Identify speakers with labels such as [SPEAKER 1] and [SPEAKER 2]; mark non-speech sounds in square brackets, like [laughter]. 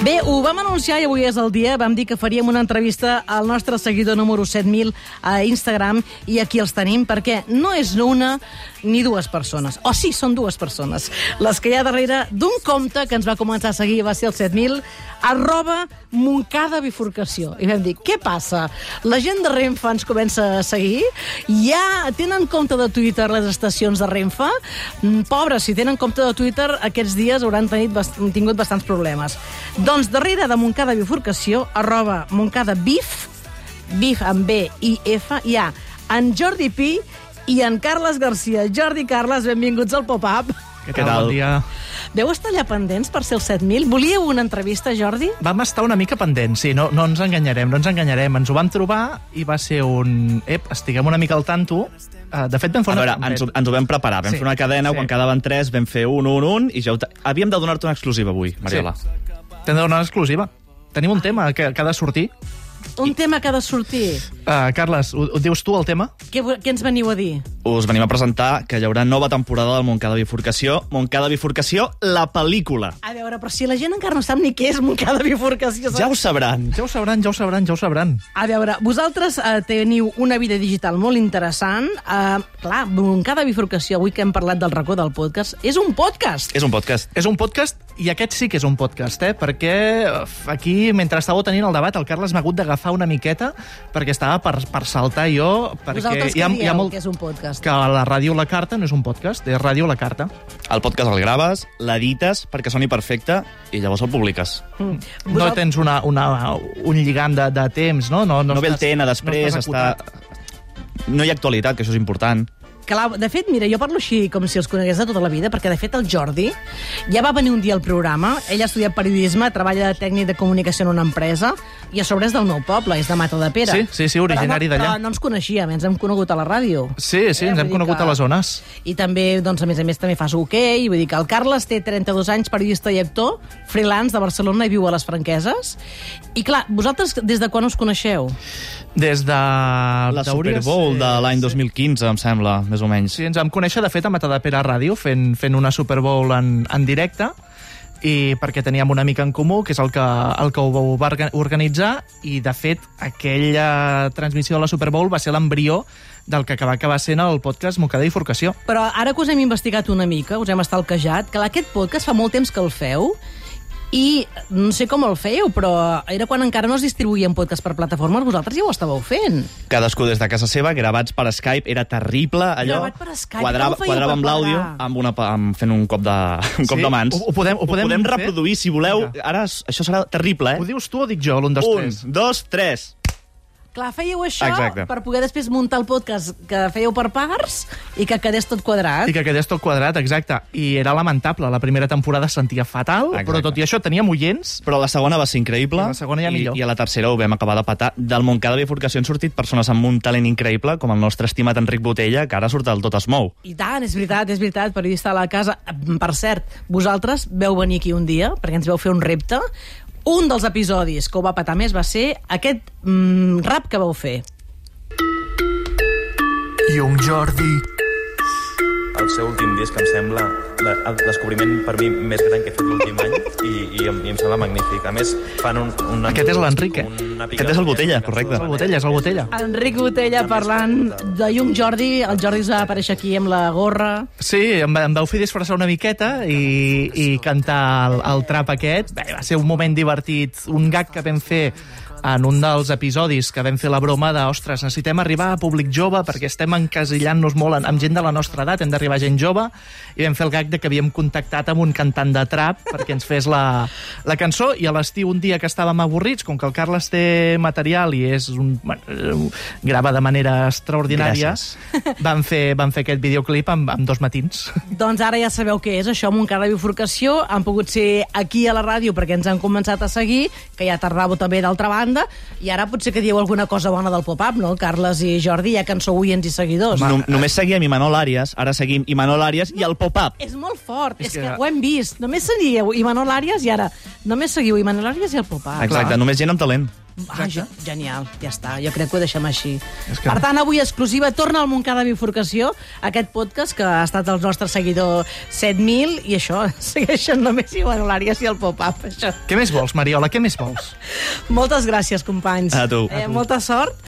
[SPEAKER 1] Bé, ho vam anunciar i avui és el dia. Vam dir que faríem una entrevista al nostre seguidor número 7.000 a Instagram i aquí els tenim, perquè no és una ni dues persones. O sí, són dues persones. Les que hi ha darrere d'un compte que ens va començar a seguir va ser el 7.000, arroba Moncada Bifurcació. I vam dir, què passa? La gent de Renfe ens comença a eh, seguir? Ja tenen compte de Twitter les estacions de Renfe? Mm, Pobres, si tenen compte de Twitter, aquests dies hauran tenit bast tingut bastants problemes. Doncs darrere de Moncada Bifurcació, arroba Moncada Bif, Bif amb B i F, hi ha en Jordi Pi i en Carles Garcia. Jordi, Carles, benvinguts al Pop-Up.
[SPEAKER 2] Què
[SPEAKER 3] Què tal?
[SPEAKER 2] Bon dia.
[SPEAKER 1] Deu estar allà pendents per ser el 7.000? Volíeu una entrevista, Jordi?
[SPEAKER 2] Vam estar una mica pendents, sí, no, no ens enganyarem, no ens enganyarem. Ens ho vam trobar i va ser un... Ep, estiguem una mica al tanto. Eh, De fet, vam
[SPEAKER 3] A
[SPEAKER 2] fer
[SPEAKER 3] veure,
[SPEAKER 2] una...
[SPEAKER 3] ens ho, ens ho vam preparar. Vam
[SPEAKER 2] Sí,
[SPEAKER 3] sí, fer una cadena,
[SPEAKER 2] sí.
[SPEAKER 3] sí. quan quedaven tres, vam fer un, un, un, i ja ho... te- Havíem de donar-te una exclusiva avui, Mariola. Sí.
[SPEAKER 2] T'hem de donar l'exclusiva. Tenim un tema que, que ha de sortir.
[SPEAKER 1] Un tema que ha de sortir.
[SPEAKER 2] Uh, Carles, ho, ho dius tu, el tema?
[SPEAKER 1] Què, vo- què ens veniu a dir?
[SPEAKER 3] Us venim a presentar que hi haurà nova temporada del Montcada Bifurcació. Montcada Bifurcació, la pel·lícula.
[SPEAKER 1] A veure, però si la gent encara no sap ni què és Montcada Bifurcació...
[SPEAKER 3] Ja ho sabran.
[SPEAKER 2] Ja ho sabran, ja ho sabran, ja ho sabran.
[SPEAKER 1] A veure, vosaltres eh, teniu una vida digital molt interessant. Eh, clar, Montcada Bifurcació, avui que hem parlat del racó del podcast, és un podcast.
[SPEAKER 3] És un podcast.
[SPEAKER 2] És un podcast, i aquest sí que és un podcast, eh? perquè uf, aquí, mentre estàveu tenint el debat, el Carles m'ha hagut d'agafar una miqueta perquè estava per, per saltar jo, perquè
[SPEAKER 1] Vosaltres què dieu que és un podcast?
[SPEAKER 2] que la ràdio La Carta no és un podcast, és ràdio La Carta.
[SPEAKER 3] El podcast el graves, l'edites perquè soni perfecte i llavors el publiques.
[SPEAKER 2] No tens una, una, un lligam de, de temps, no? No,
[SPEAKER 3] No, no ve el
[SPEAKER 2] estàs-
[SPEAKER 3] TN després,
[SPEAKER 2] no
[SPEAKER 3] no
[SPEAKER 2] estàs
[SPEAKER 3] està...
[SPEAKER 2] acotat.
[SPEAKER 3] No hi ha actualitat, que això és important.
[SPEAKER 1] Clar, de fet, mira, jo parlo així com si els conegués de tota la vida, perquè de fet el Jordi ja va venir un dia al programa, ell ha estudiat periodisme, treballa de tècnic de comunicació en una empresa, i a sobre és del meu poble, és de Mata de Pere.
[SPEAKER 2] Sí, sí, sí, originari
[SPEAKER 1] Però no-
[SPEAKER 2] d'allà.
[SPEAKER 1] Però no ens coneixíem, ens hem conegut a la ràdio.
[SPEAKER 2] Sí, sí,
[SPEAKER 1] Eh,
[SPEAKER 2] ens
[SPEAKER 1] vull
[SPEAKER 2] hem
[SPEAKER 1] dir
[SPEAKER 2] conegut
[SPEAKER 1] que-
[SPEAKER 2] a les zones.
[SPEAKER 1] I també, doncs, a més a més, també fas hoquei. Vull dir que el Carles té 32 anys, periodista i actor, freelance de Barcelona i viu a les Franqueses. I clar, vosaltres des de quan us coneixeu?
[SPEAKER 2] Des de...
[SPEAKER 3] La
[SPEAKER 2] d'hauria
[SPEAKER 3] Super Bowl
[SPEAKER 2] ser-
[SPEAKER 3] de l'any 2015, em sembla, més o menys.
[SPEAKER 2] Sí, ens vam conèixer, de fet, a Matadepera Ràdio, fent, fent una Super Bowl en, en directe, i perquè teníem una mica en comú, que és el que, el que ho va orga- organitzar, i, de fet, aquella transmissió de la Super Bowl va ser l'embrió del que va acabar sent el podcast Mocada i Forcació.
[SPEAKER 1] Però ara que us hem investigat una mica, us hem estalquejat, que aquest podcast fa molt temps que el feu i no sé com el fèieu, però era quan encara no es distribuïen podcast per plataformes, vosaltres ja ho estàveu fent.
[SPEAKER 3] Cadascú des de casa seva, gravats per Skype, era terrible allò.
[SPEAKER 1] Gravat per Skype, com ho
[SPEAKER 3] quadrava,
[SPEAKER 1] fèieu
[SPEAKER 3] quadrava amb
[SPEAKER 1] per
[SPEAKER 3] l'àudio,
[SPEAKER 1] quadrar?
[SPEAKER 3] amb una, pa- amb fent un cop de, [laughs] un cop
[SPEAKER 2] Sí,
[SPEAKER 3] de mans.
[SPEAKER 2] ho- ho podem- ho podem fer?
[SPEAKER 3] reproduir, si voleu.
[SPEAKER 2] Vinga.
[SPEAKER 3] Ara s- això serà terrible,
[SPEAKER 2] Ho
[SPEAKER 3] eh?
[SPEAKER 2] dius tu o dic jo, l'un dels
[SPEAKER 3] Un,
[SPEAKER 2] tres?
[SPEAKER 3] dos, tres.
[SPEAKER 1] Clar, fèieu això
[SPEAKER 3] Exacte.
[SPEAKER 1] per poder després muntar el podcast que fèieu per parts i que quedés tot quadrat.
[SPEAKER 2] I que quedés tot quadrat, exacte. I era lamentable. La primera temporada es sentia fatal,
[SPEAKER 3] Exacte.
[SPEAKER 2] però tot i això teníem oients.
[SPEAKER 3] Però la segona va ser increïble.
[SPEAKER 2] I la segona ja
[SPEAKER 3] i,
[SPEAKER 2] millor.
[SPEAKER 3] I a la tercera ho vam acabar de patar. Del Montcada Bifurcació han sortit persones amb un talent increïble, com el nostre estimat Enric Botella, que ara surt al Tot es mou.
[SPEAKER 1] I tant, és veritat, és veritat, periodista a la casa. Per cert, vosaltres veu venir aquí un dia, perquè ens veu fer un repte. Un dels episodis que ho va patar més va ser aquest mm, rap que vau fer.
[SPEAKER 4] i un Jordi
[SPEAKER 5] El seu últim disc, em sembla, la, el descobriment per mi més gran que he fet l'últim any i, i, em, i em sembla magnífic. A més, fan un... un
[SPEAKER 2] Aquest és l'Enric, eh?
[SPEAKER 3] Aquest és el Botella, correcte.
[SPEAKER 2] És el Botella, és el Botella.
[SPEAKER 1] Enric Botella parlant de Llum Jordi. El Jordi us va aparèixer aquí amb la gorra.
[SPEAKER 2] Sí, em, va- em vau fer disfressar una miqueta i, i cantar el, el trap aquest. Bé, va ser un moment divertit, un gag que vam fer en un dels episodis que vam fer la broma de, ostres, necessitem arribar a públic jove perquè estem encasillant-nos molt en- amb gent de la nostra edat, hem d'arribar a gent jove, i vam fer el gag de que havíem contactat amb un cantant de trap perquè ens fes la, la cançó, i a l'estiu un dia que estàvem avorrits, com que el Carles té material i és un, bueno, eh, grava de manera extraordinària,
[SPEAKER 3] Gràcies.
[SPEAKER 2] van fer, van fer aquest videoclip amb, amb dos matins.
[SPEAKER 1] Doncs ara ja sabeu què és això, Montcada Bifurcació. Han pogut ser aquí a la ràdio perquè ens han començat a seguir, que ja tardàveu també d'altra banda, i ara potser que dieu alguna cosa bona del pop-up, no? Carles i Jordi, ja que en sou oients i seguidors.
[SPEAKER 3] No, només seguíem Imanol Àries, ara seguim seguim Imanol Arias i el pop-up.
[SPEAKER 1] És molt fort, és,
[SPEAKER 2] És
[SPEAKER 1] és que...
[SPEAKER 2] que-
[SPEAKER 1] que ho hem vist. Només seguiu Imanol Arias i ara... Només seguiu Imanol Arias i el Popar.
[SPEAKER 3] Exacte,
[SPEAKER 2] Ah, clar.
[SPEAKER 3] només gent amb talent.
[SPEAKER 1] Ah, ge- genial, ja està, jo crec que ho deixem així.
[SPEAKER 2] És
[SPEAKER 1] Que...
[SPEAKER 2] que-
[SPEAKER 1] Per tant, avui exclusiva, torna al Montcada Bifurcació, aquest podcast que ha estat el nostre seguidor 7.000, i això, [laughs] segueixen només Imanol Arias i el Pop-Up, això.
[SPEAKER 2] Què més vols, Mariola? Què més vols?
[SPEAKER 1] Moltes gràcies, companys.
[SPEAKER 3] A tu.
[SPEAKER 1] Eh,
[SPEAKER 3] A
[SPEAKER 1] molta sort